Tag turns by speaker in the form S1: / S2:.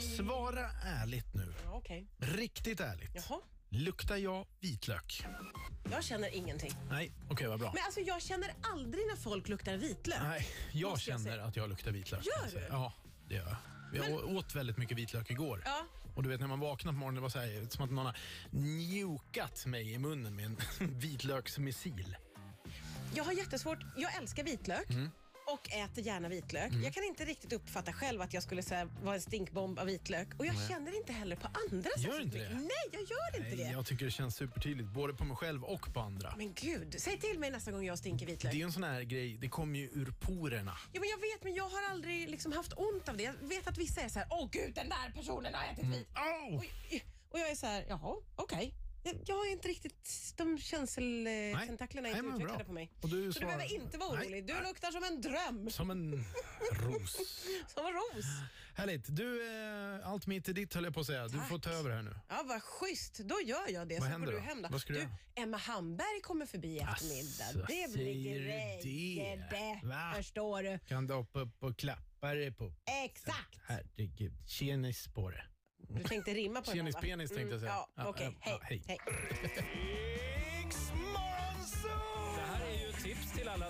S1: Svara ärligt nu.
S2: Ja, Okej.
S1: Riktigt ärligt.
S2: Jaha.
S1: Luktar jag vitlök?
S2: Jag känner ingenting.
S1: Nej, okej vad bra.
S2: Men alltså jag känner aldrig när folk luktar vitlök.
S1: Nej, jag
S2: Måste jag
S1: känner
S2: säga.
S1: att jag luktar vitlök.
S2: Gör
S1: kan jag
S2: du?
S1: säga. Ja, det gör jag. Jag å- åt väldigt mycket vitlök igår.
S2: Ja.
S1: Och du vet när man vaknade på morgonen, det var så här, som att någon har njukat mig i munnen med en vitlöksmissil.
S2: Jag har jättesvårt, jag älskar vitlök.
S1: Mm.
S2: och äter gärna vitlök. Jag kan inte riktigt uppfatta själv att jag skulle säga vara en stinkbomb av vitlök. Och jag känner inte heller på andra särskilt
S1: inte
S2: mycket.
S1: det?
S2: Nej, jag gör inte
S1: Nej,
S2: det.
S1: Jag tycker det känns supertydligt, både på mig själv och på andra.
S2: Men gud, säg till mig nästa gång jag stinker vitlök.
S1: Det är ju en sån här grej, det kommer ju ur porerna.
S2: Ja, men jag vet, men jag har aldrig liksom haft ont av det. Jag vet att vissa är så här, åh gud, den där personen har ätit vitlök.
S1: Oh!
S2: Oj. Och jag är så här, jaha, okej. Jag- Jag är inte riktigt, de känseltentaklerna är
S1: Mm. Nej,
S2: inte
S1: men
S2: utvecklade
S1: bra.
S2: på mig.
S1: Och du
S2: så du
S1: svarar-
S2: behöver inte vara
S1: Nej.
S2: orolig. Du luktar som en dröm,
S1: Som en ros.
S2: som en ros.
S1: Härligt. Du, eh, allt mitt är ditt höll jag på att säga. Du
S2: Tack.
S1: får ta över här nu.
S2: Ja, vad schysst. Då gör jag det.
S1: Vad
S2: så
S1: händer
S2: går du
S1: då?
S2: hem då.
S1: Vad ska du
S2: du,
S1: göra?
S2: Emma Hamberg kommer förbi i eftermiddag. det blir
S1: säger du
S2: grejer
S1: det?
S2: det.
S1: Va?
S2: Förstår du?
S1: Kan du hoppa upp och klappa dig på?
S2: Exakt.
S1: Herregud, tjenis på det.
S2: Du tänkte rimma på
S1: Tjenis
S2: va? Mm,
S1: penis tänkte jag säga.
S2: Ja,
S1: Ja,
S2: okej.
S1: ja, ja, hej.
S2: hej. hej.
S3: Det här är ju ett tips till alla